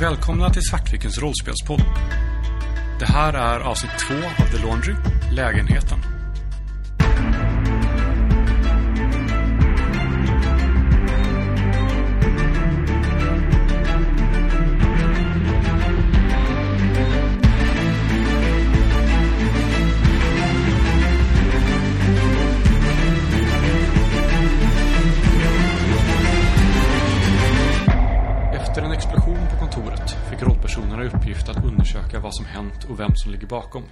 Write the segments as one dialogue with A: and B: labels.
A: Välkomna till Svartvikens rollspelspodd. Det här är avsnitt två av The Laundry, Lägenheten. Efter en explosion på kontoret fick rollpersonerna i uppgift att undersöka vad som hänt och vem som ligger bakom.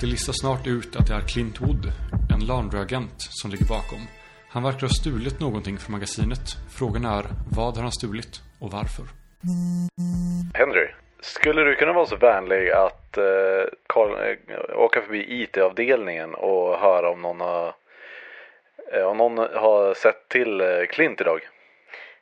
A: Det listas snart ut att det är Clint Wood, en Laundry-agent, som ligger bakom. Han verkar ha stulit någonting från magasinet. Frågan är, vad har han stulit och varför?
B: Henry, skulle du kunna vara så vänlig att eh, koll- eh, åka förbi IT-avdelningen och höra om någon har, eh, om någon har sett till eh, Clint idag?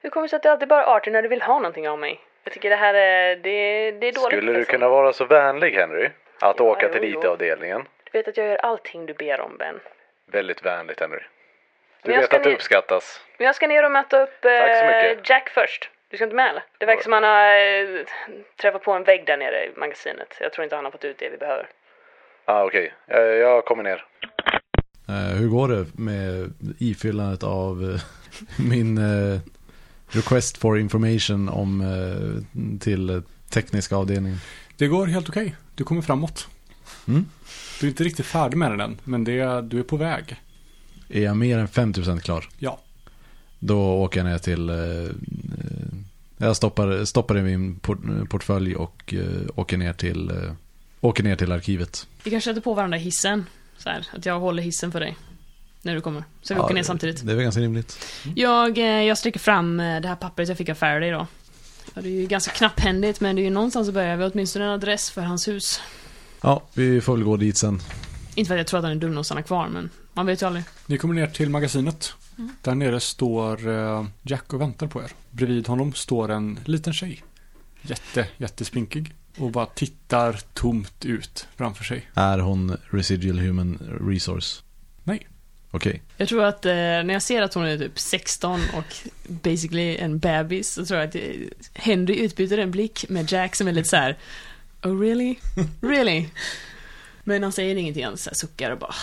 C: Hur kommer det sig att det alltid bara är Arthur när du vill ha någonting av mig? Jag tycker det här är... Det, det är dåligt.
B: Skulle du
C: alltså.
B: kunna vara så vänlig Henry? Att
C: Ja,
B: åka
C: jo,
B: till
C: jo.
B: IT-avdelningen?
C: Du vet att jag gör allting du ber om, Ben.
B: Väldigt vänligt Henry. Du
C: Men jag
B: vet
C: ska
B: att det
C: ner-
B: uppskattas.
C: Men jag ska ner och möta upp
B: Tack så
C: eh,
B: mycket.
C: Jack först. Du ska inte med eller? Det verkar som han har eh, träffat på en vägg där nere i magasinet. Jag tror inte han har fått ut det vi behöver.
B: Ah, Okej, Eh, jag kommer ner.
D: Eh, hur går det med ifyllandet av eh, min eh, request for information om eh, till eh, tekniska avdelningen?
A: Det går helt okej. Du kommer framåt.
D: Mm.
A: Du är inte riktigt färdig med den än, men det, du är på väg.
D: Är jag mer än 50% klar?
A: Ja.
D: Då åker jag ner till... eh, eh, jag stoppar, stoppar i min port, portfölj och eh, åker, ner till, eh, åker ner till arkivet.
E: Vi kan sätta på varandra i hissen. Så här, att jag håller hissen för dig. När du kommer. Så vi åker ner
D: det-
E: samtidigt.
D: Det är väl ganska rimligt.
E: Jag, eh, jag sträcker fram eh, det här pappret jag fick av Faraday då. Ja, det är ju ganska knapphändigt men det är ju någonstans att börja. Vi har åtminstone en adress för hans hus.
D: Ja, vi får väl gå dit sen.
E: Inte för att jag tror att han är dum nog att stanna kvar men man vet ju aldrig.
A: Ni kommer ner till magasinet. Där nere står eh, Jack och väntar på er. Bredvid honom står en liten tjej. Jätte, jättespinkig. Och bara tittar tomt ut framför sig.
D: Är hon residual human resource?
A: Nej.
D: Okej.
E: Jag tror att eh, när jag ser att hon är typ 16 och basically en bebis så tror jag att eh, Henry utbyter en blick med Jack som är lite så här. Oh really? Really? Men han säger ingenting, han så här suckar och bara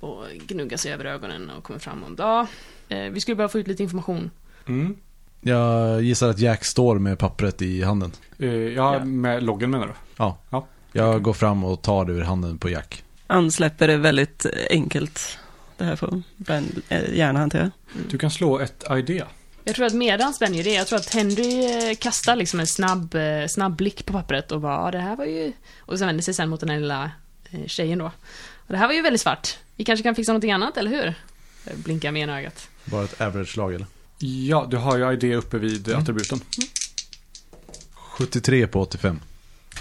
E: och gnuggar sig över ögonen och kommer fram och ja, eh, vi skulle behöva få ut lite information.
A: Mm.
D: Jag gissar att Jack står med pappret i handen.
A: Eh, ja,
F: Ja.
A: med loggen menar du?
D: Ja.
A: Ja.
D: Jag går fram och tar det ur handen på Jack.
F: Han släpper det väldigt enkelt. Det här får Ben eh, gärna hantera.
A: Du kan slå ett idé.
E: Jag tror att medans Ben gör det, jag tror att Henry eh, kastar liksom en snabb, eh, snabb blick på pappret och bara, "Ja, det här var ju... Och sen vänder sig sen mot den här lilla eh, tjejen då. Och det här var ju väldigt svart. Vi kanske kan fixa någonting annat, eller hur? Jag blinkar med ena ögat.
D: Bara ett average-slag eller?
A: Ja, du har ju idé uppe vid mm. attributen.
D: 73 på 85.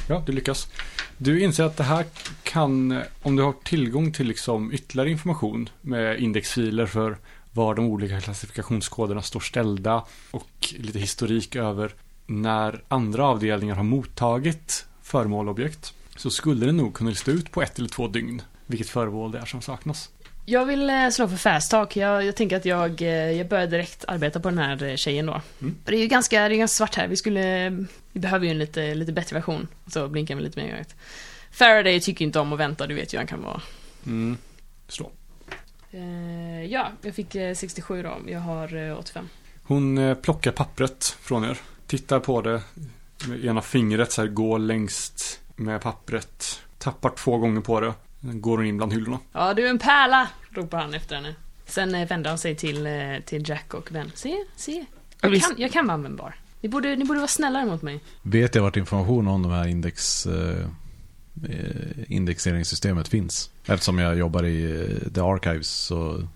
A: Ja, du lyckas. Du inser att det här kan, om du har tillgång till liksom ytterligare information med indexfiler för var de olika klassifikationskoderna står ställda och lite historik över när andra avdelningar har mottagit föremål och objekt så skulle det nog kunna lista ut på ett eller två dygn vilket föremål det är som saknas.
E: Jag vill eh, slå för fast talk. Jag, jag tänker att jag, eh, jag börjar direkt arbeta på den här eh, tjejen då. Det är ju ganska, det är ganska svart här. Vi skulle, vi behöver ju en lite, lite bättre version. Så blinkar jag lite mer i ögat. Faraday tycker inte om att vänta, du vet ju hur han kan vara.
A: Mm. Slå.
E: Eh, ja, jag fick eh, 67 då. Jag har eh, 85.
A: Hon eh, plockar pappret från er. Tittar på det med ena fingret så här, går längst med pappret. Tappar två gånger på det. Sen går hon in bland hyllorna.
E: Ja, du är en pärla! Ropar han efter henne. Sen eh, vänder han sig till, eh, till Jack och Ben. Se, se. Jag kan, jag kan vara användbar. Ni borde, ni borde vara snällare mot mig.
D: Vet jag vart information om de här index, eh, eh, indexeringssystemet finns? Eftersom jag jobbar i eh, The Archives så...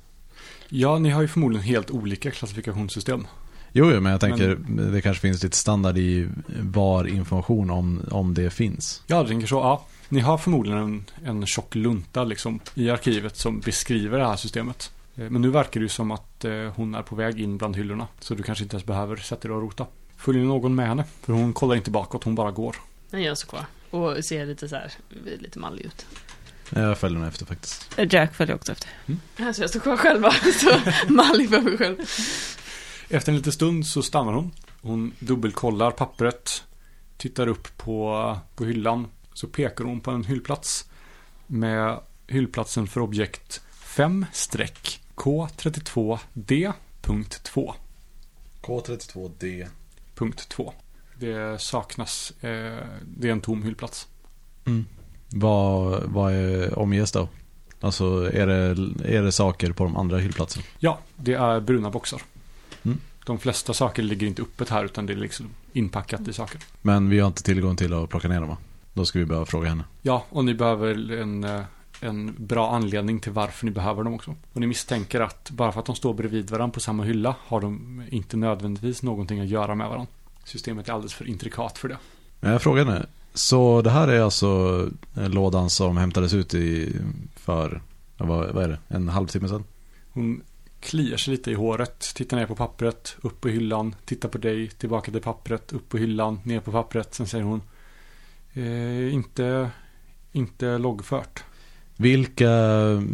A: Ja, ni har ju förmodligen helt olika klassifikationssystem.
D: Jo, jo men jag tänker det kanske finns lite standard i var information om, om det finns.
A: Jag tänker så, ja. Ni har förmodligen en, en tjock lunta liksom, i arkivet som beskriver det här systemet. Eh, Men nu verkar det ju som att eh, hon är på väg in bland hyllorna. Så du kanske inte ens behöver sätta dig och rota. Följer någon med henne? För hon kollar inte bakåt, hon bara går.
E: Men jag står kvar. Och ser lite så här, lite mallig ut.
D: Jag följer den efter faktiskt.
F: Eh, Jack följer också efter.
E: Alltså jag står kvar själva. Så mallig för mig själv.
A: Efter en liten stund så stannar hon. Hon dubbelkollar pappret. tittar upp på, på hyllan så pekar hon på en hyllplats med hyllplatsen för objekt 5-K32D.2.
D: K32D.
A: Punkt 2. Det saknas, eh, det är en tom hyllplats.
D: Vad, vad är, omges då? Alltså är det, är det saker på de andra hyllplatserna?
A: Ja, det är bruna boxar.
D: Mm.
A: De flesta saker ligger inte öppet här utan det är liksom inpackat i saker.
D: Men vi har inte tillgång till att plocka ner dem va? Då ska vi behöva fråga henne.
A: Ja, och ni behöver en, eh, en bra anledning till varför ni behöver dem också. Och ni misstänker att bara för att de står bredvid varandra på samma hylla har de inte nödvändigtvis någonting att göra med varandra. Systemet är alldeles för intrikat för det.
D: Men jag frågar henne. Så det här är alltså eh, lådan som hämtades ut i för, ja, vad, vad är det, en halvtimme sedan?
A: Hon kliar sig lite i håret, tittar ner på pappret, upp på hyllan, tittar på dig, tillbaka till pappret, upp på hyllan, ner på pappret. Sen säger hon eh, inte, inte loggfört.
D: Vilka,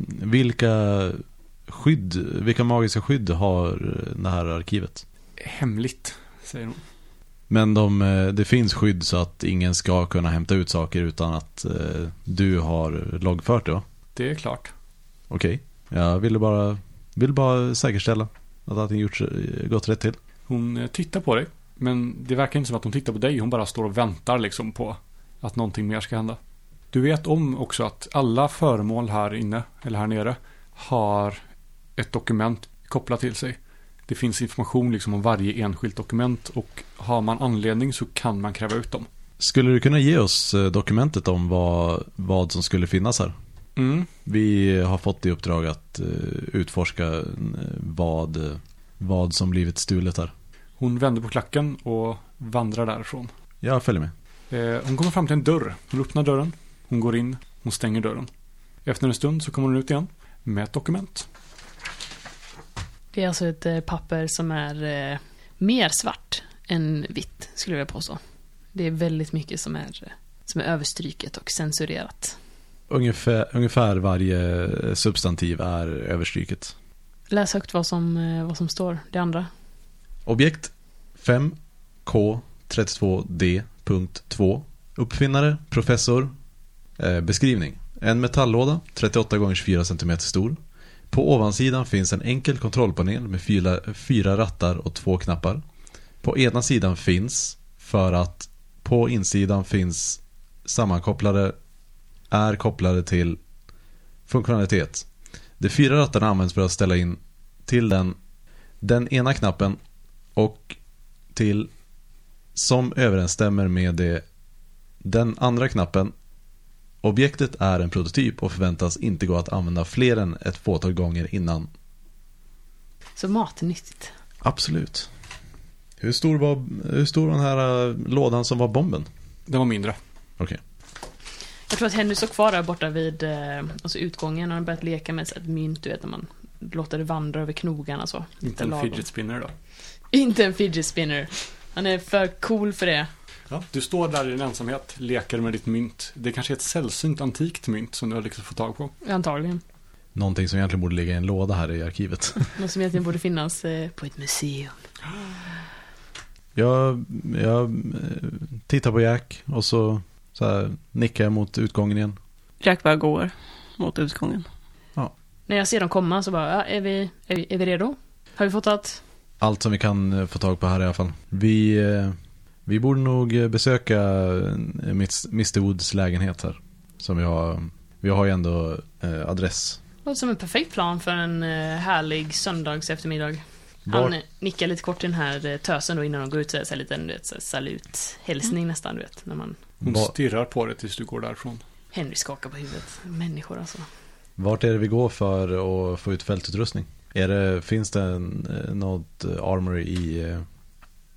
D: vilka skydd, vilka magiska skydd har eh, det här arkivet?
A: Hemligt, säger hon.
D: Men de, eh, det finns skydd så att ingen ska kunna hämta ut saker utan att eh, du har loggfört det va?
A: Det är klart.
D: Okej, jag ville bara, vill bara säkerställa att allting gjorts, eh, gått rätt till.
A: Hon eh, tittar på dig, men det verkar inte som att hon tittar på dig. Hon bara står och väntar liksom på att någonting mer ska hända. Du vet om också att alla föremål här inne, eller här nere, har ett dokument kopplat till sig. Det finns information liksom om varje enskilt dokument och har man anledning så kan man kräva ut dem.
D: Skulle du kunna ge oss eh, dokumentet om vad, vad som skulle finnas här?
A: Mm.
D: Vi har fått i uppdrag att eh, utforska eh, vad, eh, vad som blivit stulet här.
A: Hon vänder på klacken och vandrar därifrån.
D: Jag följer med.
A: Eh, hon kommer fram till en dörr. Hon öppnar dörren. Hon går in. Hon stänger dörren. Efter en stund så kommer hon ut igen med ett dokument.
E: Det är alltså ett eh, papper som är eh, mer svart än vitt, skulle jag vilja påstå. Det är väldigt mycket som är, eh, som är överstryket och censurerat.
D: Ungefär, ungefär varje eh, substantiv är överstryket.
E: Läs högt vad som, eh, vad som står, det andra.
D: Objekt 5K32D.2 Uppfinnare, professor eh, Beskrivning En metalllåda, 38 gånger 24 cm stor. På ovansidan finns en enkel kontrollpanel med fyra, fyra rattar och två knappar. På ena sidan finns, för att på insidan finns sammankopplade, är kopplade till funktionalitet. De fyra rattarna används för att ställa in till den, den ena knappen och till som överensstämmer med det, den andra knappen. Objektet är en prototyp och förväntas inte gå att använda fler än ett fåtal gånger innan.
E: Så matnyttigt.
D: Absolut. Hur stor var, hur stor var den här eh, lådan som var bomben?
A: Den var mindre.
D: Okej.
E: Jag tror att Henry står kvar där borta vid eh, alltså utgången och har börjat leka med så ett mynt, du vet när man låter det vandra över knogarna så.
A: Inte en
E: lagom.
A: fidget spinner då.
E: Inte en fidget spinner. Han är för cool för det.
A: Du står där i din ensamhet, leker med ditt mynt. Det kanske är ett sällsynt antikt mynt som du har lyckats få tag på.
E: Antagligen.
D: Någonting som egentligen borde ligga i en låda här i arkivet.
E: Något som egentligen borde finnas eh, på ett museum.
D: Jag, jag eh, tittar på Jack och så, så här, nickar jag mot utgången igen.
F: Jack bara går mot utgången.
E: När jag ser dem komma så bara, ja, är, vi, är, vi, är vi redo? Har vi fått allt?
D: Allt som vi kan eh, få tag på här i alla fall. Vi, eh, vi borde nog eh, besöka eh, Mits- Mr Woods lägenhet här. Som vi har, vi har ju ändå eh, adress.
E: Låter som en perfekt plan för en eh, härlig söndags eftermiddag. Han
D: Var,
E: eh, nickar lite kort till den här eh, tösen då innan de går ut, så här, så här liten du vet, så här, salut, hälsning nästan, du vet, när man
A: Hon
D: va,
A: stirrar på dig tills du går därifrån.
E: Henry skakar på huvudet. Människor alltså.
D: vart är det vi går för att få ut fältutrustning? Är det, finns det en, eh, något eh, armory i, eh,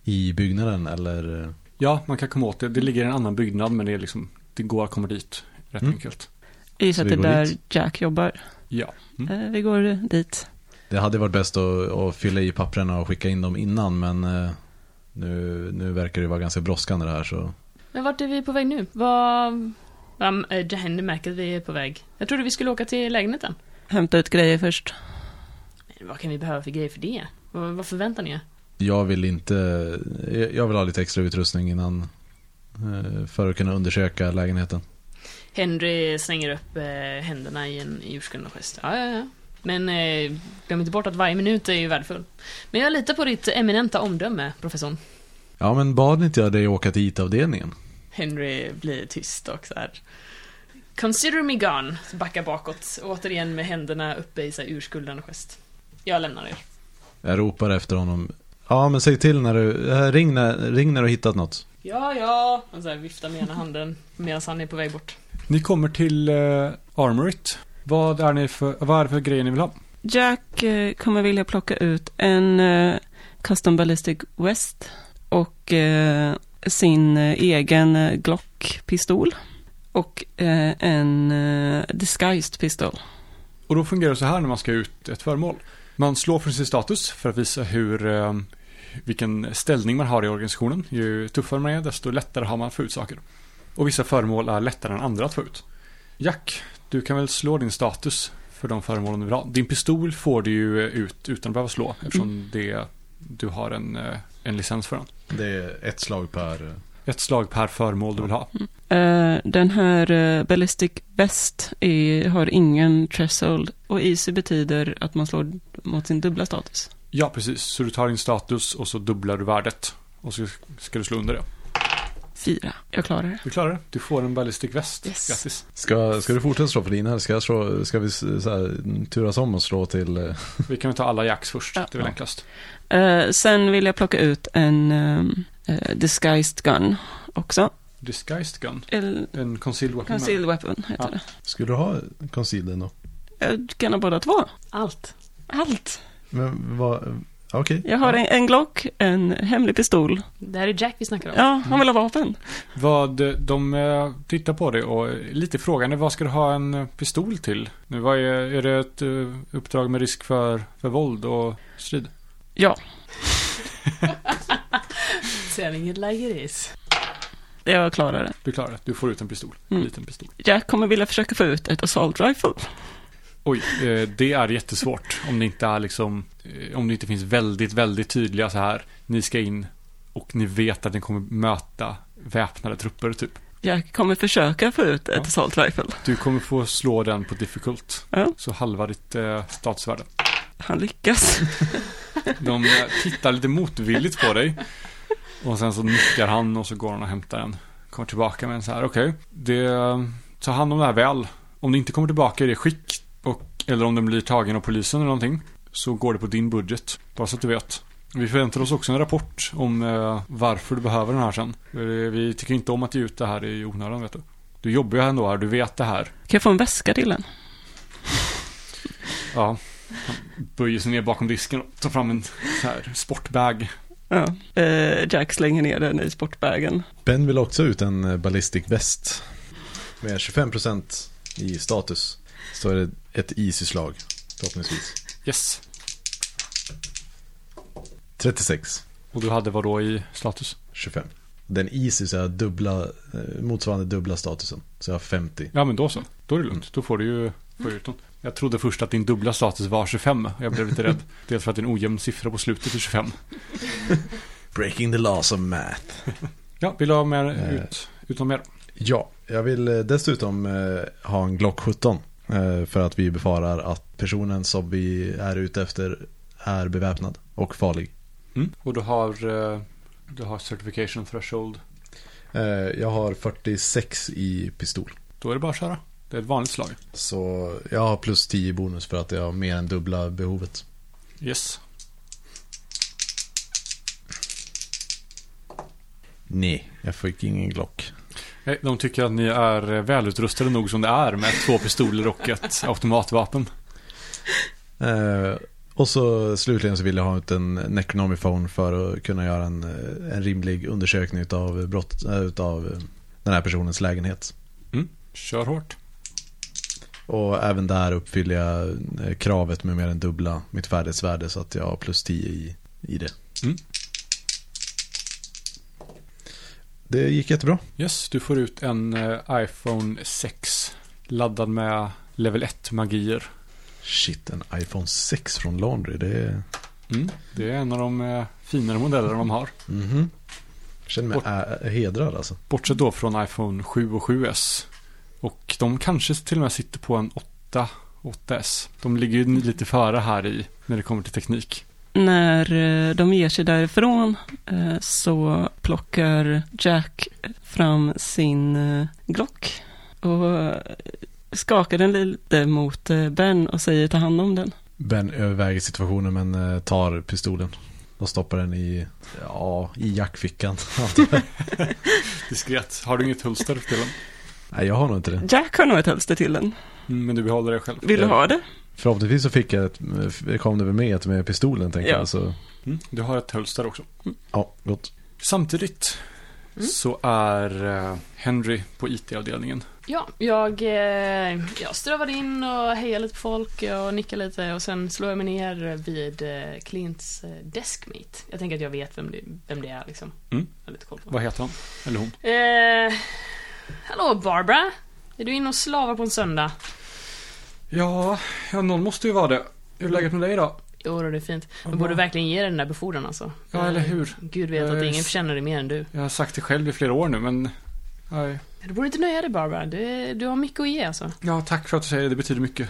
D: i byggnaden eller? eh,
A: Ja, man kan komma åt det. Det ligger i en annan byggnad men det är liksom, det går att komma dit rätt
D: Mm.
A: enkelt.
F: Jag
D: Så
F: gissar att
D: vi
F: det är
D: går
F: där
D: dit? Mm.
F: Jack jobbar.
A: Ja.
F: Eh, Vi går dit.
D: Det hade varit bäst att, att fylla i papperna och skicka in dem innan men eh, nu, nu verkar det vara ganska brådskande det här så
E: Men vart är vi på väg nu? Vad... Um, Henry märker att vi är på väg. Jag trodde vi skulle åka till lägenheten.
F: Hämta ut grejer först.
E: Men vad kan vi behöva för grejer för det? Vad, vad förväntar ni er?
D: Jag vill inte, jag vill ha lite extra utrustning innan eh, för att kunna undersöka lägenheten.
E: Henry slänger upp eh, händerna i en jordskund och gest. Ja, ja, ja. Men eh, glöm inte bort att varje minut är ju värdefull. Men jag litar på ditt eminenta omdöme, professorn.
D: Ja, men bad inte jag dig åka till IT-avdelningen?
E: Henry blir tyst och så här. Consider me gone. Så backar bakåt. Återigen med händerna uppe i så här urskulden och gest. Jag lämnar er.
D: Jag ropar efter honom. Ja, men säg till när du... eh, Ring när, ring när du har hittat något.
E: Ja, ja. Han så här viftar med ena handen medan han är på väg bort.
A: Ni kommer till eh, Armorit. Vad är, ni för, vad är det för grejer ni vill ha?
F: Jack eh, kommer vilja plocka ut en eh, Custom Ballistic West och eh, sin eh, egen eh, Glock-pistol och eh, en eh, Disguised pistol.
A: Och då fungerar det så här när man ska ut ett föremål. Man slår för sin status för att visa hur, eh, vilken ställning man har i organisationen. Ju tuffare man är, desto lättare har man att få ut saker. Och vissa föremål är lättare än andra att få ut. Jack, du kan väl slå din status för de föremålen du vill ha. Din pistol får du ju eh, ut utan att behöva slå eftersom det, du har en, eh, en licens för den.
D: Det är ett slag per... eh,
A: Ett slag per föremål du vill ha.
F: Eh, den här eh, Ballistic West är, har ingen threshold och easy betyder att man slår mot sin dubbla status.
A: Ja, precis. Så du tar din status och så dubblar du värdet. Och så ska du slå under det.
F: Fyra. Jag klarar det.
A: Du klarar det. Du får en ballistic väst.
F: Yes.
A: Grattis.
D: Ska, ska du fortsätta slå för din här? Ska, jag slå, ska vi s- så här, turas om och slå till... eh,
A: Vi kan väl ta alla jacks först,
F: Ja.
A: det är väl enklast.
F: Eh, sen vill jag plocka ut en eh, eh, Disguised Gun också.
A: Disguised gun,
F: Eller
A: en concealed weapon.
F: Concealed Weapon heter
A: Ja.
F: det.
D: Skulle du ha concealed då?
F: Jag kan ha båda två.
E: Allt.
F: Allt.
D: Men vad... Okej.
F: Jag har en, en Glock, en hemlig pistol.
E: Det här är Jack vi snackar om.
F: Ja, han vill ha vapen.
A: Vad eh, de eh, tittar på det och är lite frågande, vad ska du ha en eh, pistol till? Nu, vad är, är det ett eh, uppdrag med risk för, för våld och strid?
F: Ja,
E: Selling it like it is.
F: jag klarar det.
A: Du klarar det, du får ut en pistol, en
F: Mm.
A: liten pistol.
F: Jack kommer vilja försöka få ut ett assault rifle.
A: Oj, eh, det är jättesvårt om det inte är liksom, eh, om det inte finns väldigt, väldigt tydliga så här, ni ska in och ni vet att ni kommer möta väpnade trupper typ.
F: Jack kommer försöka få ut ett
A: Ja.
F: assault rifle.
A: Du kommer få slå den på difficult,
F: Ja.
A: så halva ditt eh, statusvärde.
F: Han lyckas.
A: De eh, tittar lite motvilligt på dig. Och sen så nickar han och så går han och hämtar den. Kommer tillbaka med en så här, okej. det ta hand om det här väl. Om det inte kommer tillbaka i det skick, och, eller om den blir tagen av polisen eller någonting, så går det på din budget. Bara så att du vet. Vi förväntar oss också en rapport om eh, varför du behöver den här sen. Eh, Vi tycker inte om att ge ut det här i onödan, vet du. Du jobbar ju ändå här, du vet det här.
F: Kan jag få en väska till den?
A: Ja. Han böjer sig ner bakom disken och tar fram en så här sportbag.
F: Ja. Eh, Jack slänger ner den i sportbagen.
D: Ben vill också ut en eh, ballistic väst. Med 25% i status. Så är det ett easy-slag. Förhoppningsvis.
A: Yes.
D: 36.
A: Och du hade vad då i status?
D: 25. Den easy så jag har dubbla, eh, motsvarande dubbla statusen. Så jag har 50.
A: Ja, men då så. Då är det lugnt. Då får du ju får du ut den. Jag trodde först att din dubbla status var 25 och jag blev lite rädd. Dels för att det är en ojämn siffra på slutet är 25.
D: Breaking the laws of math.
A: Ja, vill du ha mer
D: Eh.
A: ut, ut något mer?
D: Ja, jag vill eh, dessutom eh, ha en Glock 17. eh, För att vi befarar att personen som vi är ute efter är beväpnad och farlig.
A: Mm. Och du har, eh, du har certification threshold.
D: Eh, Jag har 46 i pistol.
A: Då är det bara att köra. Det är ett vanligt slag.
D: Så jag har plus 10 i bonus för att jag har mer än dubbla behovet.
A: Yes.
D: Nej, jag fick ingen Glock.
A: Nej, Eh, De tycker att ni är eh, välutrustade nog som det är med två pistoler och ett automatvapen.
D: Eh, och så slutligen så vill jag ha ut en Necronomifon för att kunna göra en, eh, en rimlig undersökning utav, brott, eh, utav eh, den här personens lägenhet.
A: Mm. Kör hårt.
D: Och även där uppfyller jag eh, kravet med mer än dubbla mitt färdighetsvärde så att jag har plus 10 i, i det.
A: Mm.
D: Det gick jättebra.
A: Yes, du får ut en eh, iPhone 6 laddad med level 1 magier.
D: Shit, en iPhone 6 från Laundry, det är...
A: Mm, det är en av de eh, finare modellerna de har.
D: Mhm. Känner mig
A: Bort.
D: ä- hedrad alltså.
A: Bortsett då från iPhone 7 och 7S. Och de kanske till och med sitter på en 8, 8S. De ligger ju lite före här i när det kommer till teknik.
F: När eh, de ger sig därifrån eh, så plockar Jack fram sin eh, Glock och eh, skakar den lite mot eh, Ben och säger ta hand om den.
D: Ben överväger situationen men eh, tar pistolen. Och stoppar den i, ja, i jackfickan.
A: Diskret. Har du inget hulster till den?
D: Nej, jag har nog inte det.
F: Jack har nog ett hölster till den.
A: Mm, Men du behåller det själv.
F: Vill du ha det?
D: Förhoppningsvis så fick jag ett, eh, kom det väl med ett med pistolen tänker
F: Ja.
D: jag. Så,
A: Mm, Du har ett hölster också.
D: ja, gott.
A: Samtidigt
F: Mm.
A: så är eh, Henry på IT-avdelningen.
E: Ja, jag, eh, jag strövade in och hejade lite på folk och nickade lite och sen slår jag mig ner vid eh, Clints eh, deskmate. Jag tänker att jag vet vem det, vem det är liksom.
A: Mm.
E: Jag har lite koll på.
A: Vad heter han? Eller hon?
E: Eh, hallå Barbara! Är du inne och slavar på en söndag?
A: Ja, ja, någon måste ju vara det. Hur är läget med dig då?
E: Jo, då, det är fint.
A: Bra.
E: Man borde verkligen ge dig den där befordran alltså.
A: Ja, eller hur?
E: Gud vet
A: Jag
E: att
A: är
E: ingen
A: s-
E: förtjänar det mer än du.
A: Jag har sagt det själv i flera år nu, men... Nej.
E: Du borde inte nöja dig Barbara. Du, du har mycket att ge alltså.
A: Ja, tack för att du säger det. Det betyder mycket.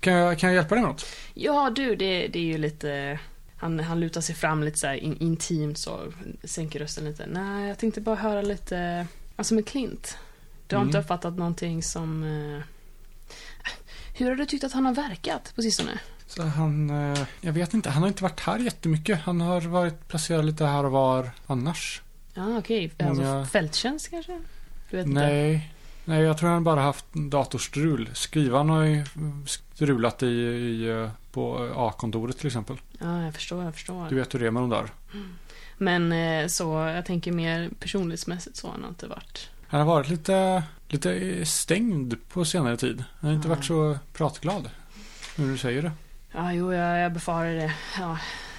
A: Kan jag, kan jag hjälpa dig med något?
E: Ja, du, det, det är ju lite... Han, han lutar sig fram lite så här in, intimt så, sänker rösten lite. Nej, jag tänkte bara höra lite... Alltså med Clint. Du har inte
A: Mm.
E: uppfattat någonting som... Eh, hur har du tyckt att han har verkat på sistone?
A: Så han, eh, jag vet inte, han har inte varit här jättemycket. Han har varit placerad lite här och var annars.
E: Ja, okej.
A: Många-
E: Alltså fälttjänst kanske? Du vet inte?
A: Nej, nej, jag tror han bara haft datorstrul. Skrivaren har ju mm, strulat i, i eh, på eh, A-kontoret till exempel.
E: Ja, jag förstår, jag förstår.
A: Du vet hur det är med de där.
E: Men eh, så, jag tänker mer personlighetsmässigt så har han inte varit.
A: Han har varit lite, lite stängd på senare tid. Han har inte
E: Ja.
A: varit så pratglad. Nu när du säger det.
E: Ja, jo, jag, jag befarar det. Ja.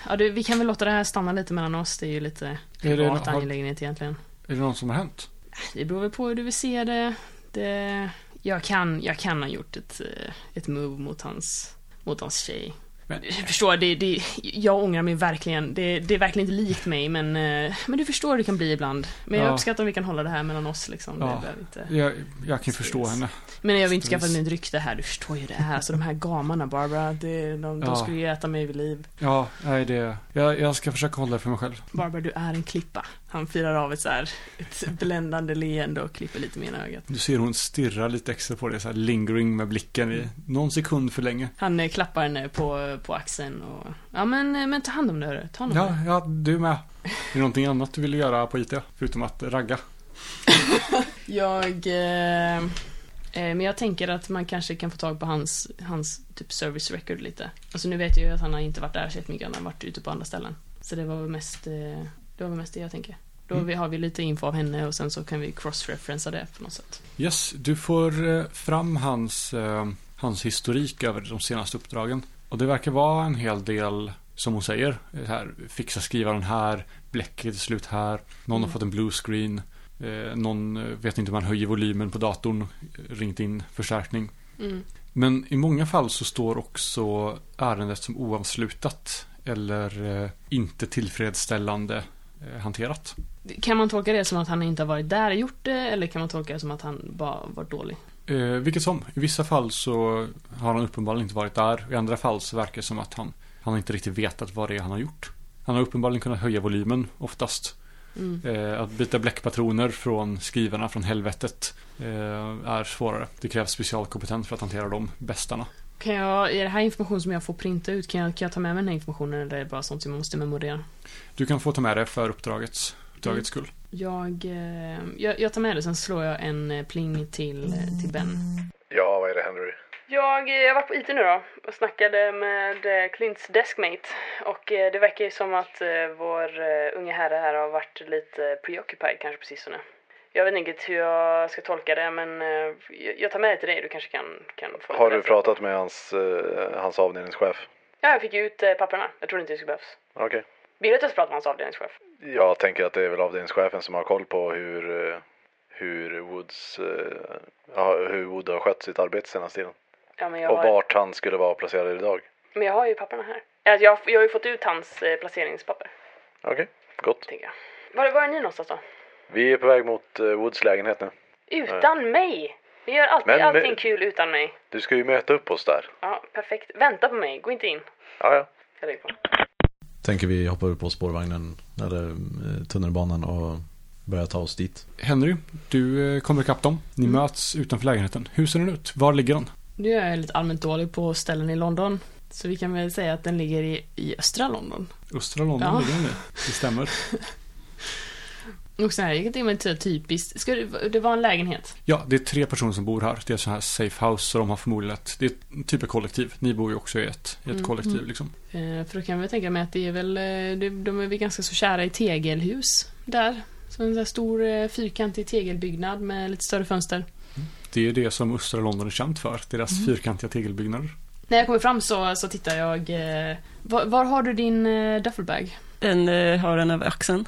E: Ja, du, vi kan väl låta det här stanna lite mellan oss. Det är ju lite
A: Är det,
E: privat
A: har,
E: angelägenhet egentligen.
A: är det någon som har hänt?
E: Det beror väl på hur du vill se det. det jag, kan, jag kan ha gjort ett, eh, ett move mot hans, mot hans tjej.
A: Men-
E: Jag förstår, det, det, jag ångrar mig verkligen. Det, det är verkligen inte likt mig, men, eh, men du förstår hur det kan bli ibland. Men jag
A: Ja.
E: uppskattar om vi kan hålla det här mellan oss. Liksom.
A: Ja.
E: Det behöver inte...
A: Jag, jag kan förstå henne.
E: Men jag vill inte skaffa
A: Visst.
E: mig ett rykte här, du förstår ju det här. Alltså de här gamarna Barbara, det, de, de
A: Ja.
E: skulle ju äta mig vid liv.
A: Ja, nej det... Jag, jag ska försöka hålla det för mig själv.
E: Barbara, du är en klippa. Han firar av ett så här, ett bländande leende och klipper lite mer i ögat.
A: Du ser hon stirrar lite extra på dig, så här lingering med blicken i någon sekund för länge.
E: Han eh, klappar henne på, på axeln och, ja men, eh, men ta hand om det hörru, ta hand om
A: Ja,
E: det.
A: ja, du med. Är det någonting annat du vill göra på IT? Förutom att ragga?
E: Jag, eh, eh, men jag tänker att man kanske kan få tag på hans, hans typ service record lite. Alltså nu vet jag ju att han har inte varit där så mycket, han har varit ute på andra ställen. Så det var väl mest, eh, det var väl mest det jag tänker. Då vi, har vi lite info av henne och sen så kan vi cross-referensa det på något sätt.
A: Yes, du får eh, fram hans, eh, hans historik över de senaste uppdragen. Och det verkar vara en hel del, som hon säger, eh, här, fixa skrivaren här, bläcket är slut här, någon
E: Mm.
A: har fått en blue screen, eh, någon eh, vet inte hur man höjer volymen på datorn, eh, ringt in förstärkning. Men i många fall så står också ärendet som oavslutat eller eh, inte tillfredsställande eh, hanterat.
E: Kan man tolka det som att han inte har varit där och gjort det eller kan man tolka det som att han bara varit dålig?
A: Eh, vilket som, i vissa fall så har han uppenbarligen inte varit där. I andra fall så verkar det som att han, han inte riktigt vetat vad det är han har gjort. Han har uppenbarligen kunnat höja volymen oftast.
E: Mm.
A: Eh, att byta bläckpatroner från skrivarna från helvetet eh, är svårare. Det krävs specialkompetens för att hantera de bästarna.
E: Kan jag, är det här information som jag får printa ut? Kan jag, kan jag ta med mig den här informationen eller är det bara sånt som jag måste memorera?
A: Du kan få ta med det för uppdragets, uppdragets skull.
E: Jag, eh, jag, jag tar med det, sen slår jag en eh, pling till, eh, till Ben.
B: Ja, vad är det Henry?
C: Jag, eh, jag var på IT nu då och snackade med eh, Clints deskmate och eh, det verkar ju som att eh, vår eh, unge herre här har varit lite preoccupied kanske på sistone. Jag vet inte riktigt hur jag ska tolka det men eh, jag- jag tar med det till dig, du kanske kan, kan få lite
B: Har du
C: rätt.
B: pratat med hans, eh, hans avdelningschef?
C: Ja, jag fick ju ut eh, papperna. Jag trodde inte det skulle behövas.
B: Okej.
C: Vill du att jag ska prata med hans avdelningschef?
B: Jag tänker att det är väl avdelningschefen som har koll på hur, eh, hur, Woods, eh, ja, hur Wood har skött sitt arbete senaste tiden.
C: Ja, men jag
B: Och
C: har-
B: vart han skulle vara placerad idag.
C: Men jag har ju papperna här. Alltså, jag, jag har ju fått ut hans eh, placeringspapper.
B: Okej. Gott.
C: tänker jag. Var, var är ni någonstans då?
B: Vi är på väg mot eh, Woods lägenhet nu.
C: Utan mig! Vi gör alltid
B: Eh. Men- eh, men-
C: allting kul utan mig.
B: Du ska ju möta upp oss där.
C: Ja, perfekt. Vänta på mig, gå inte in.
B: Ja, ja.
C: Jag lägger på.
D: Tänker vi hoppa upp på spårvagnen eller eh, tunnelbanan och börja ta oss dit.
A: Henry, du eh, kommer ikapp dem. Ni möts utanför lägenheten. Hur ser den ut? Var ligger den?
E: Nu är jag lite allmänt dålig på ställen i London. Så vi kan väl säga att den ligger i, i östra London.
A: Östra London
E: Ja.
A: ligger den i. Det stämmer.
E: Och sen här, jag tänker mig typ typiskt, ska det, det var en lägenhet.
A: Ja, det är tre personer som bor här. Det är så här safe house så de har förmodligen ett, det är ett typ av kollektiv. Ni bor ju också i ett, i ett
E: Mm,
A: kollektiv
E: mm.
A: liksom.
E: Eh, för då kan jag väl tänka mig att det är väl, eh, det, de är väl ganska så kära i tegelhus där. Så en sån här stor eh, fyrkantig tegelbyggnad med lite större fönster.
A: Det är det som östra London är känt för. Deras
E: Mm.
A: fyrkantiga tegelbyggnader.
E: När jag kommer fram så, så tittar jag, eh, var, var har du din eh, duffelbag?
F: Den eh, har den över axeln.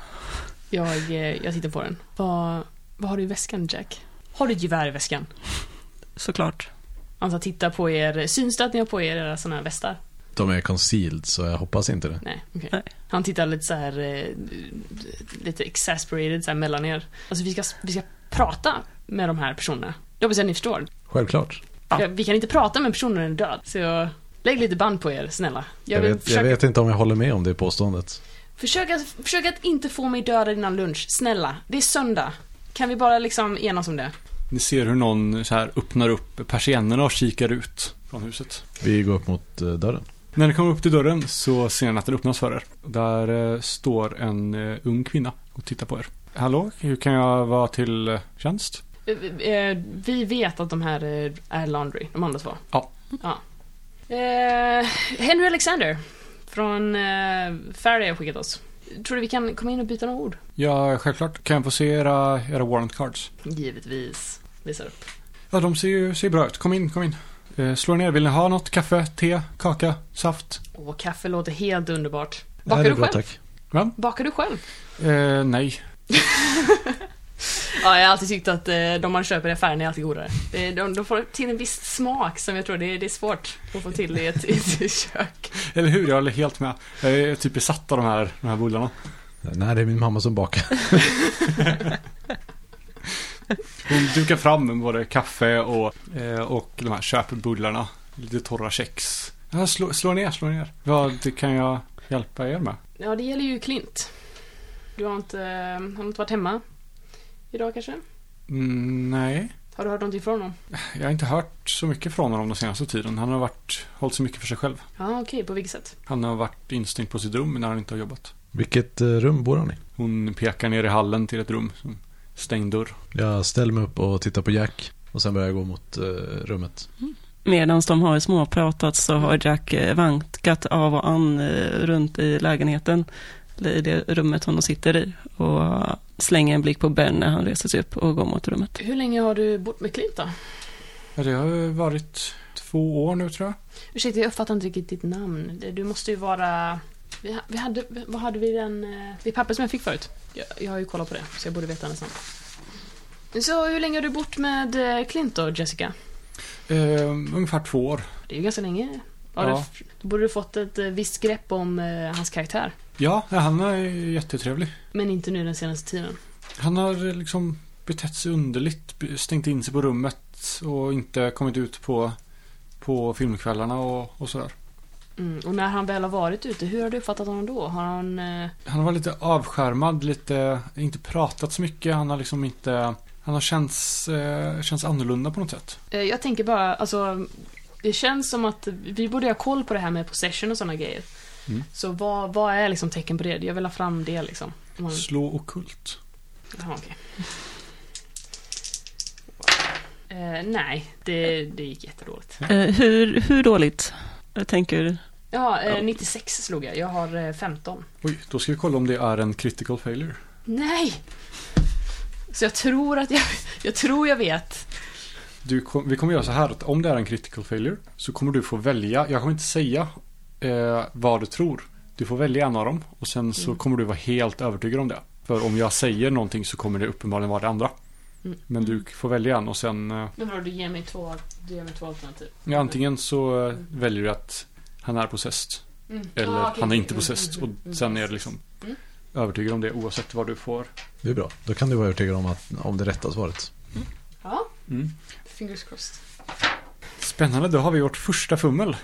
E: Jag, eh, jag tittar på den. Vad, vad har du i väskan Jack? Har du ett gevär i väskan?
F: Såklart.
E: Alltså titta på er, syns det att ni har på er era såna här västar?
D: De är concealed så jag hoppas inte det.
E: Nej, okej.
F: Nej.
E: Han tittar lite så här eh, lite exasperated så här mellan er. Alltså vi ska, vi ska prata med de här personerna. Jag hoppas att ni förstår.
D: Självklart.
E: Jag- Vi kan inte prata med personer när den är död. Så jag, lägg lite band på er, snälla.
D: Jag,
E: vill
D: vet,
E: försöka,
D: jag vet inte om jag håller med om det påståendet.
E: Försök, att, försök att inte få mig dödad innan lunch, snälla. Det är söndag. Kan vi bara liksom enas om det?
A: Ni ser hur någon så här öppnar upp persiennerna och kikar ut från huset.
D: Vi går upp mot eh, dörren.
A: När ni kommer upp till dörren så ser ni att den öppnas för er. Där eh, står en eh, ung kvinna och tittar på er. Hallå, hur kan jag vara till eh, tjänst?
E: Eh, eh, Vi vet att de här eh, är Laundry, de andra två.
A: Ja.
E: ja. Eh, Henry Alexander från eh, Faraday har skickat oss. Tror du vi kan komma in och byta några ord?
A: Ja, självklart. Kan jag få se era, era warrant cards?
E: Givetvis. Visar upp.
A: Ja, de ser ju ser bra ut. Kom in, kom in. Eh, slå er ner. Vill ni ha något? Kaffe, te, kaka, saft?
E: Åh, kaffe låter helt underbart.
D: Det här
E: Bakar
D: är
E: du själv?
D: tack.
E: Bakar du själv?
A: Eh, nej.
E: Ja, jag har alltid tyckt att eh, de man köper i affären är alltid godare. De, de, de får till en viss smak som jag tror det är, det är svårt att få till i ett, i ett kök.
A: Eller hur? Jag håller helt med. Jag är typ besatt av de här, de här bullarna.
D: Nej, det är min mamma som bakar.
A: Hon dukar fram med både kaffe och, eh, och de här köpbullarna. Lite torra kex. Ja, slå, slå ner, slå ner. Vad kan jag hjälpa er med?
E: Ja, det gäller ju Klint. Du har inte, eh, har inte varit hemma idag kanske?
A: Mm, nej,
E: Har du hört någonting från honom?
A: jag har inte hört så mycket från honom den senaste tiden. Han har varit, hållit sig mycket för sig själv.
E: Ja, okej, på vilket sätt?
A: Han har varit instängd på sitt rum när han inte har jobbat.
D: Vilket eh, rum bor han i?
A: Hon pekar ner i hallen till ett rum. som- Stängd dörr.
D: Jag ställer mig upp och tittar på Jack. Och sen börjar jag gå mot eh, rummet.
F: Medan de har småpratat så har Jack eh, vankat av och an eh, runt i lägenheten, eller i det rummet som de sitter i, och slänger en blick på Ben när han reser sig upp och går mot rummet.
E: Hur länge har du bott med Klint då?
A: Ja, det har ju varit två år nu tror jag.
E: Ursäkta, jag uppfattar inte riktigt ditt namn. Det- Du måste ju vara... Vi, ha- vi hade, vad hade vi den... eh, Det papper som jag fick förut. Jag, jag har ju kollat på det, så jag borde veta hennes namn. Så hur länge har du bott med eh, Clint då, Jessica?
A: Eh, ungefär två år.
E: Det är ju ganska länge. Har
A: Ja.
E: du, f- då borde du fått ett eh, visst grepp om eh, hans karaktär.
A: Ja, han är jättetrevlig.
E: Men inte nu den senaste tiden.
A: Han har eh, liksom betett sig underligt. be- Stängt in sig på rummet och inte kommit ut på, på filmkvällarna och, och sådär.
E: Mm. Och när han väl har varit ute, hur har du uppfattat honom då? Har han... Eh,
A: Han var lite avskärmad, lite, inte pratat så mycket. Han har liksom inte, han har känts, eh, känns annorlunda på något sätt.
E: Eh, Jag tänker bara, alltså det känns som att vi borde ha koll på det här med possession och sådana grejer.
A: Mm.
E: Så vad, vad är liksom tecken på det? Jag vill ha fram det liksom. Om man-
A: Slå och kult.
E: Jaha, okej. Eh, nej, det, det gick jättedåligt.
F: Eh, hur, hur dåligt? Jag tänker,
E: Ja, eh, 96 slog jag. Jag har eh, 15.
A: Oj, då ska vi kolla om det är en critical failure.
E: Nej! Så jag tror att jag, jag tror jag vet.
A: Du kom, vi kommer göra så här att om det är en critical failure så kommer du få välja. Jag kommer inte säga eh, vad du tror. Du får välja en av dem och sen
E: Mm.
A: så kommer du vara helt övertygad om det. För om jag säger någonting så kommer det uppenbarligen vara det andra.
E: Mm.
A: Men du får välja en och sen eh,
E: Men vadå, du ger mig två, du ger mig två alternativ.
A: ja, antingen så eh, väljer du att han är possessed
E: Mm.
A: eller
E: Ah, okej,
A: han är
E: okej.
A: inte possessed
E: Mm, mm,
A: och
E: mm,
A: sen
E: mm.
A: är det liksom
E: Mm.
A: övertygad om det oavsett vad du får.
D: Det är bra. Då kan du vara övertygad om, att, om det rätta svaret.
E: Ja,
A: Mm.
E: fingers crossed.
A: Spännande, då har vi vårt första fummel.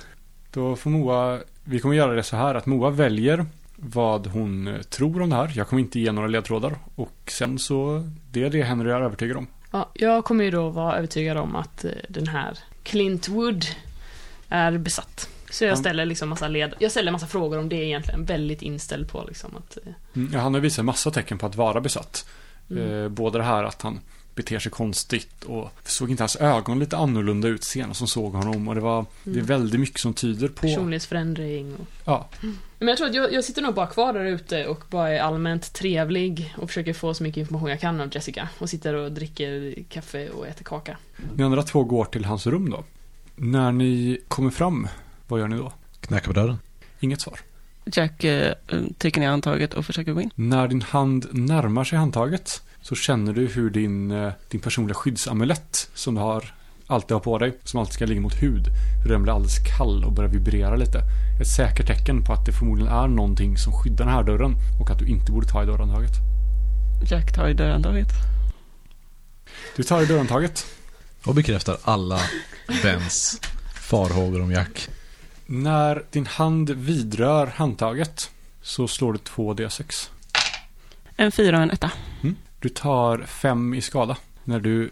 A: Då får Moa, vi kommer göra det så här att Moa väljer vad hon eh, tror om det här. Jag kommer inte ge några ledtrådar. Och sen så, det är det Henry är övertygad om.
E: Ja, jag kommer ju då vara övertygad om att eh, den här Clint Wood är besatt. Så jag
A: Han-
E: ställer liksom massa led... Jag ställer massa frågor om det egentligen. Väldigt inställd på liksom att... eh,
A: Mm, ja, han har visat massa tecken på att vara besatt.
E: Mm.
A: Eh, både det här att han beter sig konstigt och såg inte hans ögon lite annorlunda ut senast som såg honom. Och det var, det är
E: Mm.
A: väldigt mycket som tyder på...
E: Personlighetsförändring och...
A: Ja,
E: Men jag tror att jag, jag sitter nog bara kvar där ute och bara är allmänt trevlig och försöker få så mycket information jag kan av Jessica. Och sitter och dricker kaffe och äter kaka.
A: ni andra två går till hans rum då. När ni kommer fram, vad gör ni då?
D: Knacka på dörren.
A: Inget svar.
F: Jack eh, trycker ner handtaget och försöker gå in.
A: När din hand närmar sig handtaget så känner du hur din, eh, din personliga skyddsamulett som du har, alltid har på dig, som alltid ska ligga mot hud, hur den blir alldeles kall och börjar vibrera lite. Ett säkert tecken på att det förmodligen är någonting som skyddar den här dörren och att du inte borde ta i dörrhandtaget.
F: Jack tar i dörrhandtaget.
A: Du tar i dörrhandtaget.
D: Och bekräftar alla Bens farhågor om Jack.
A: När din hand vidrör handtaget så slår du 2 D6.
F: En fyra och en etta.
A: Du tar fem i skada när du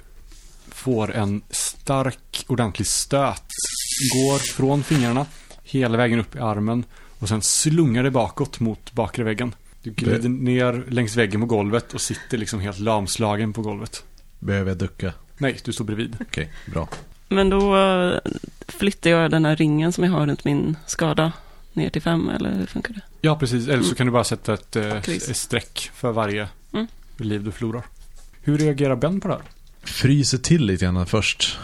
A: får en stark, ordentlig stöt. Går från fingrarna hela vägen upp i armen och sen slungar det bakåt mot bakre väggen. Du glider
D: Det-
A: ner längs väggen på golvet och sitter liksom helt lamslagen på golvet.
D: Behöver jag ducka?
A: Nej, du står bredvid.
D: Okej, bra.
F: Men då eh, flyttar jag den här ringen som jag har runt min skada ner till fem, eller hur funkar det?
A: Ja, precis. Eller så kan du bara sätta ett, eh,
F: Kryss.
A: ett streck för varje
F: Mm.
A: liv du förlorar. Hur reagerar Ben på det här?
D: Fryser till lite grann först.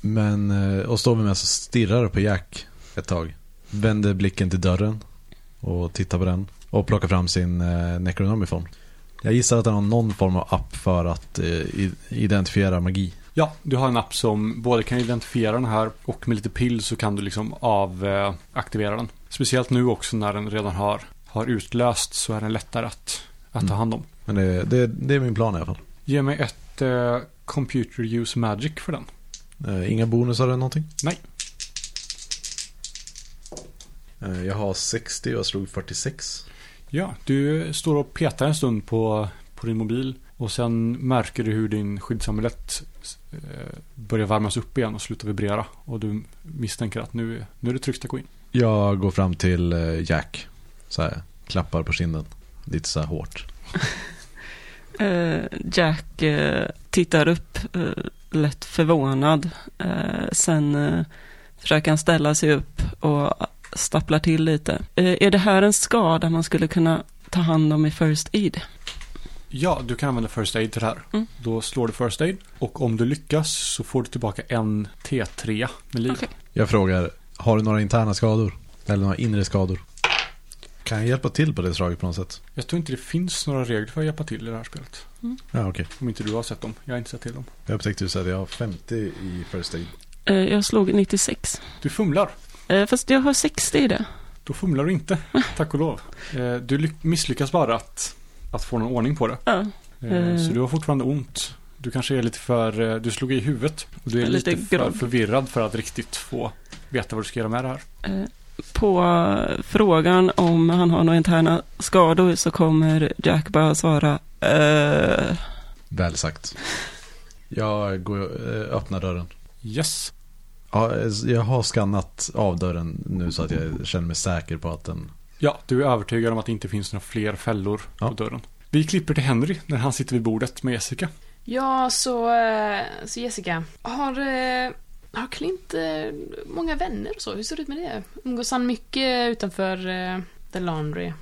D: Men, eh, och står med mig så stirrar på Jack ett tag. Vänder blicken till dörren och tittar på den. Och plockar fram sin eh, Necronomicon. Jag gissar att han har någon form av app för att eh, i- identifiera magi.
A: Ja, du har en app som både kan identifiera den här och med lite pill så kan du liksom avaktivera den. Speciellt nu också när den redan har, har utlöst så är den lättare att, att ta
D: Mm.
A: hand om.
D: Men det, det, det är min plan i alla fall.
A: Ge mig ett eh, computer use magic för den.
D: Eh, Inga bonusar eller någonting?
A: Nej.
D: Eh, Jag har 60 och jag slog 46.
A: Ja, du står och petar en stund på, på din mobil och sen märker du hur din skyddsamulett eh, börjar värmas upp igen och slutar vibrera. Och du misstänker att nu, är- nu är det tryckt att gå in.
D: Jag går fram till eh, Jack. Så här, klappar på kinden. Lite så här hårt.
F: Eh, Jack eh, tittar upp eh, lätt förvånad. Eh, sen eh, försöker han ställa sig upp och stapplar till lite. Eh, är det här en skada man skulle kunna ta hand om i First Aid?
A: Ja, du kan använda First Aid till det här.
F: Mm.
A: Då slår du First Aid och om du lyckas så får du tillbaka en T3 med liv.
F: Okej.
D: Jag frågar, har du några interna skador? Eller några inre skador? Kan jag hjälpa till på det slaget på något sätt?
A: Jag tror inte det finns några regler för att hjälpa till i det här spelet.
D: Ja, okej.
A: Om inte du har sett dem. Jag har inte sett till dem.
D: Jag upptäckte just att jag har 50 i first aid.
F: Eh, jag slog 96.
A: Du fumlar.
F: Eh, fast jag har 60 i det.
A: Då fumlar du inte. Tack och lov. Eh, Du lyck- misslyckas bara att, att få någon ordning på det.
F: Ja,
A: Eh,
F: Mm.
A: Så du har fortfarande ont. Du kanske är lite för... eh, Du slog i huvudet. Och du är
F: Lite
A: lite, för
F: grodd.
A: förvirrad för att riktigt få veta vad du ska göra med det här.
F: Eh, På eh, frågan om han har några interna skador så kommer Jack bara svara eh,
D: Väl sagt. Jag går, eh, öppnar dörren.
A: Yes.
D: Ja, eh, jag har skannat av dörren nu så att jag känner mig säker på att den...
A: Ja, du är övertygad om att det inte finns några fler fällor
D: Ja.
A: på dörren. Vi klipper till Henry när han sitter vid bordet med Jessica.
E: Ja, så, eh, så Jessica. Har, eh, har Clint eh, många vänner och så? Hur ser det ut med det? Umgås han mycket utanför eh, The Laundry?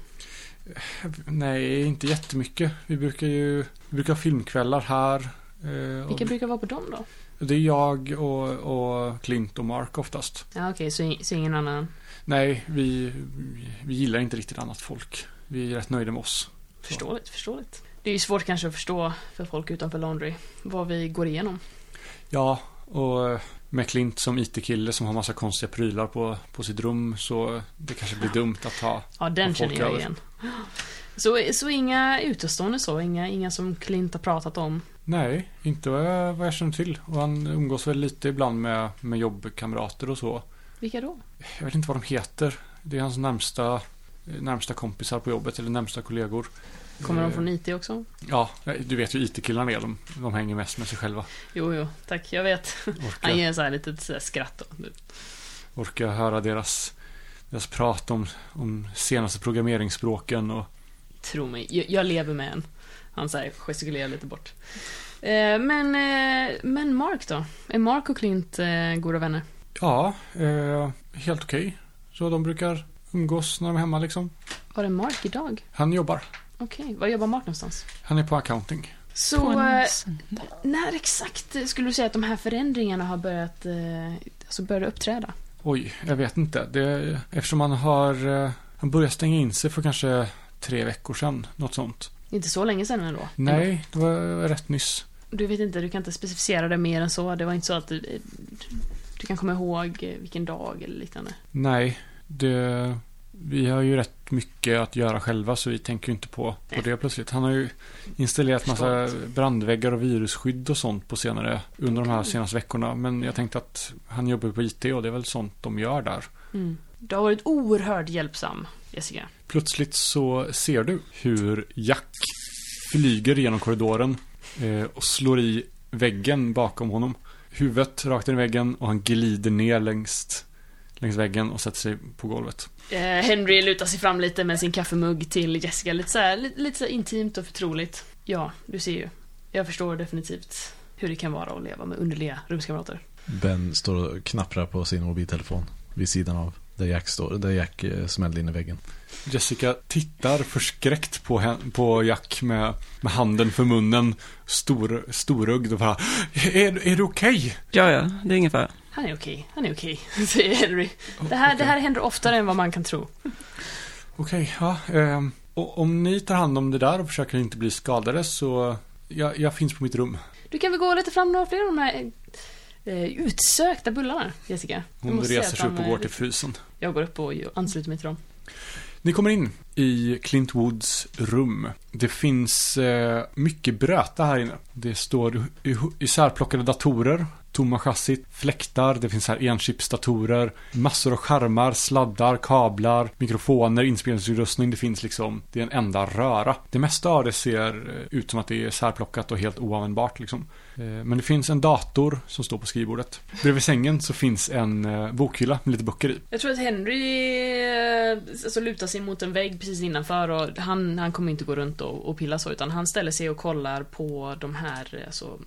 A: Nej, inte jättemycket. Vi brukar ju vi brukar ha filmkvällar här. eh, och
E: Vilka brukar vara på dem då?
A: Det är jag och, och Clint och Mark oftast.
E: Ja, okej, så, så ingen annan.
A: Nej, vi, vi gillar inte riktigt annat folk. Vi är rätt nöjda med oss.
E: Förståeligt, förståeligt. Det är ju svårt kanske att förstå för folk utanför Laundry vad vi går igenom.
A: Ja, och med Clint som IT-kille som har massa konstiga prylar på, på sitt rum så det kanske blir dumt att ha
E: Ja, den
A: Och folk
E: känner jag
A: över.
E: igen. Så, så inga utestående så, inga, inga som Clint har pratat om.
A: Nej, inte vad jag, vad jag känner till. Och han umgås väl lite ibland med, med jobbkamrater och så.
E: Vilka då?
A: Jag vet inte vad de heter. Det är hans närmsta, eh, närmsta kompisar på jobbet eller närmsta kollegor.
E: Kommer de
A: Eh,
E: från IT också?
A: Ja, du vet ju IT-killarna är. De, de hänger mest med sig själva.
E: Jo, jo, tack, jag vet. Han
A: Orkar,
E: ger en så här litet så här skratt då.
A: orkar höra deras, deras prat om, om senaste programmeringsspråken och
E: Tro mig, jag, jag lever med en. Han så här gestikulerar lite bort. Eh, men, eh, men Mark då? Är Mark och Clint eh, goda vänner?
A: ja, eh, helt okej. Så de brukar umgås när de är hemma liksom.
E: Var är Mark idag?
A: Han jobbar.
E: Okej, var jobbar Mark någonstans?
A: Han är på accounting.
E: Så
F: På en
E: eh,
F: söndag.
E: när exakt skulle du säga att de här förändringarna har börjat eh, alltså började uppträda?
A: Oj, jag vet inte. Det, eftersom han har... eh, Han började stänga in sig för kanske tre veckor sedan. Något sånt.
E: Inte så länge sedan ändå.
A: Nej, det var rätt nyss.
E: Du vet inte, du kan inte specificera det mer än så. Det var inte så att du, du kan komma ihåg eh, vilken dag eller liknande.
A: Nej, det... Vi har ju rätt mycket att göra själva så vi tänker ju inte på, på det plötsligt. Han har ju installerat massa brandväggar och virusskydd och sånt på senare, under de här senaste veckorna. Men jag tänkte att han jobbar ju på IT och det är väl sånt de gör där.
E: Du har varit oerhört hjälpsam, Jessica.
A: Plötsligt så ser du hur Jack flyger genom korridoren eh, och slår i väggen bakom honom. Huvudet rakt in i väggen och han glider ner längs, längs väggen och sätter sig på golvet.
E: Eh, Henry lutar sig fram lite med sin kaffemugg till Jessica. Lite så här, lite, lite så här intimt och förtroligt. Ja, du ser ju. Jag förstår definitivt hur det kan vara att leva med underliga rumskamrater.
D: Ben står och knapprar på sin mobiltelefon vid sidan av där Jack står, där Jack eh, smällde in i väggen.
A: Jessica tittar förskräckt på, hen- på Jack med, med handen för munnen, stor, storögd och bara Är, är det okej?
F: Ja, ja, det är ingen fara.
E: Han är okej, han är okej, säger Henry. Det här, det här händer oftare än vad man kan tro.
A: Okej, ja. ehm, och om ni tar hand om det där och försöker inte bli skadade så jag, jag finns på mitt rum.
E: Du kan väl gå lite fram några fler av de här eh, utsökta bullarna, Jessica? Du
A: Hon
E: måste säga eh,
A: reser
E: att
A: sig
E: de
A: upp och
E: är
A: går
E: lite-
A: till frysen.
E: Jag går upp och ansluter mig till dem.
A: Ni kommer in i Clint Woods rum. Det finns eh, mycket bröta här inne. Det står i- i- isärplockade datorer, tomma chassit, fläktar, det finns här enchipsdatorer, massor av skärmar, sladdar, kablar, mikrofoner, inspelningsutrustning. Det finns liksom, det är en enda röra. Det mesta av det ser eh, ut som att det är särplockat och helt oanvändbart liksom. Eh, men det finns en dator som står på skrivbordet. Bredvid sängen så finns en eh, bokhylla med lite böcker i.
E: Jag tror att Henry eh, alltså, lutar sig mot en vägg precis innanför och han, han kommer inte gå runt och, och pilla så utan han ställer sig och kollar på de här eh, alltså,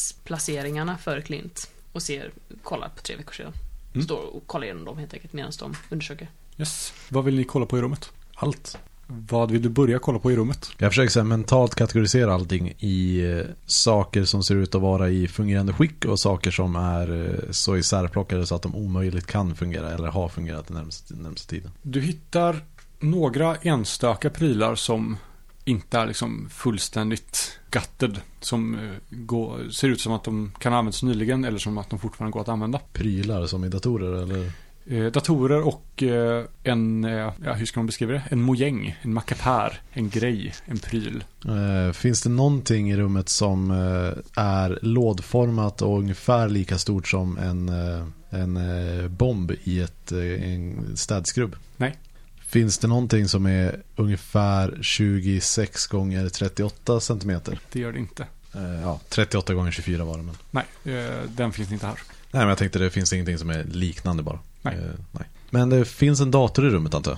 E: arbetsplaceringarna för Clint och ser, kollar på tre veckor sedan.
A: Mm.
E: Står och kollar igenom dem helt enkelt medan de undersöker.
A: Yes. Vad vill ni kolla på i rummet?
D: Allt.
A: Vad vill du börja kolla på i rummet?
D: Jag försöker så här mentalt kategorisera allting i eh, saker som ser ut att vara i fungerande skick och saker som är eh, så isärplockade så att de omöjligt kan fungera eller har fungerat den närmaste, den närmaste tiden.
A: Du hittar några enstaka prylar som inte är liksom fullständigt gutted. Som eh, går, ser ut som att de kan ha använts nyligen eller som att de fortfarande går att använda.
D: Prylar som i datorer eller?
A: Eh, datorer och eh, en, eh, ja, hur ska man beskriva det? En mojäng, en mackapär, en grej, en pryl.
D: Eh, finns det någonting i rummet som eh, är lådformat och ungefär lika stort som en, eh, en eh, bomb i ett eh, en städskrubb?
A: Nej.
D: Finns det någonting som är ungefär 26 gånger 38 centimeter?
A: Det gör det inte.
D: Eh, ja, 38 gånger 24 var det men.
A: Nej, eh, den finns inte här.
D: Nej men jag tänkte det finns ingenting som är liknande bara.
A: Nej.
D: Eh, nej. Men det finns en dator i rummet antar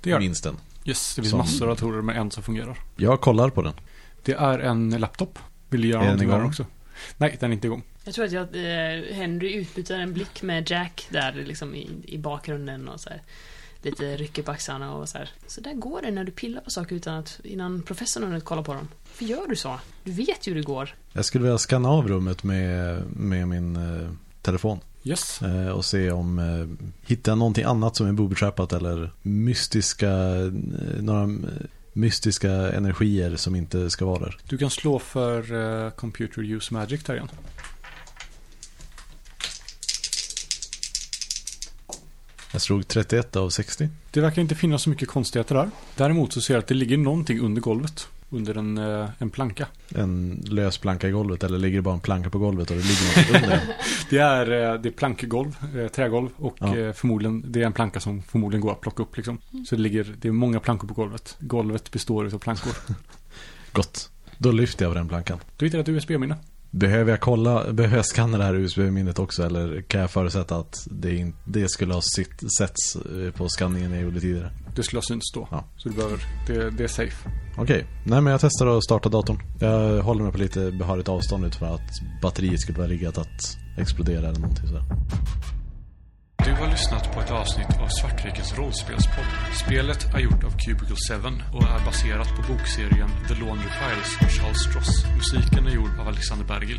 A: Det gör
D: jag?
A: det.
D: Minst en.
A: Yes, det finns
D: Som-
A: massor av datorer men en som fungerar.
D: Jag kollar på den.
A: Det är en laptop. Vill du göra
D: Är
A: någonting
D: den
A: med den
D: igång?
A: också? Nej, den är inte igång.
E: Jag tror att jag, eh, Henry utbyter en blick med Jack där liksom i, i bakgrunden och så här, lite rycker på axlarna och så här. Så där går det när du pillar på saker utan att, innan professorn har hunnit kolla på dem. För gör du så? Du vet ju hur det går.
D: Jag skulle vilja skanna av rummet med, med min eh, telefon.
A: Yes.
D: Eh, och se om, eh, hitta någonting annat som är booby-trappat eller mystiska, eh, några eh, mystiska energier som inte ska vara där.
A: Du kan slå för eh, Computer Use Magic där igen.
D: Jag slog 31 av 60.
A: Det verkar inte finnas så mycket konstigheter där. Däremot så ser jag att det ligger någonting under golvet. Under en, eh, en planka.
D: En lös planka i golvet eller ligger det bara en planka på golvet och det ligger något under?
A: Det är, eh, det är plankgolv, eh, trägolv och
D: Ja.
A: eh, förmodligen, det är en planka som förmodligen går att plocka upp liksom. Så det ligger, det är många plankor på golvet. Golvet består av plankor.
D: Gott. Då lyfter jag av den plankan.
A: Du hittade ett USB-minne.
D: Behöver jag kolla, behöver jag skanna det här USB-minnet också eller kan jag förutsätta att det, in, det skulle ha sitt, setts eh, på skanningen jag gjorde tidigare?
A: Det skulle ha synts då.
D: Ja.
A: Så du behöver, det, det är safe.
D: Okej, nej men jag testar att starta datorn. Jag håller mig på lite behörigt avstånd utifrån att batteriet skulle vara riggat att explodera eller någonting sådär.
A: Du har lyssnat på ett avsnitt av Svartvikens rollspelspodd. Spelet är gjort av Cubicle 7 och är baserat på bokserien The Laundry Files av Charles Stross. Musiken är gjord av Alexander Bergil.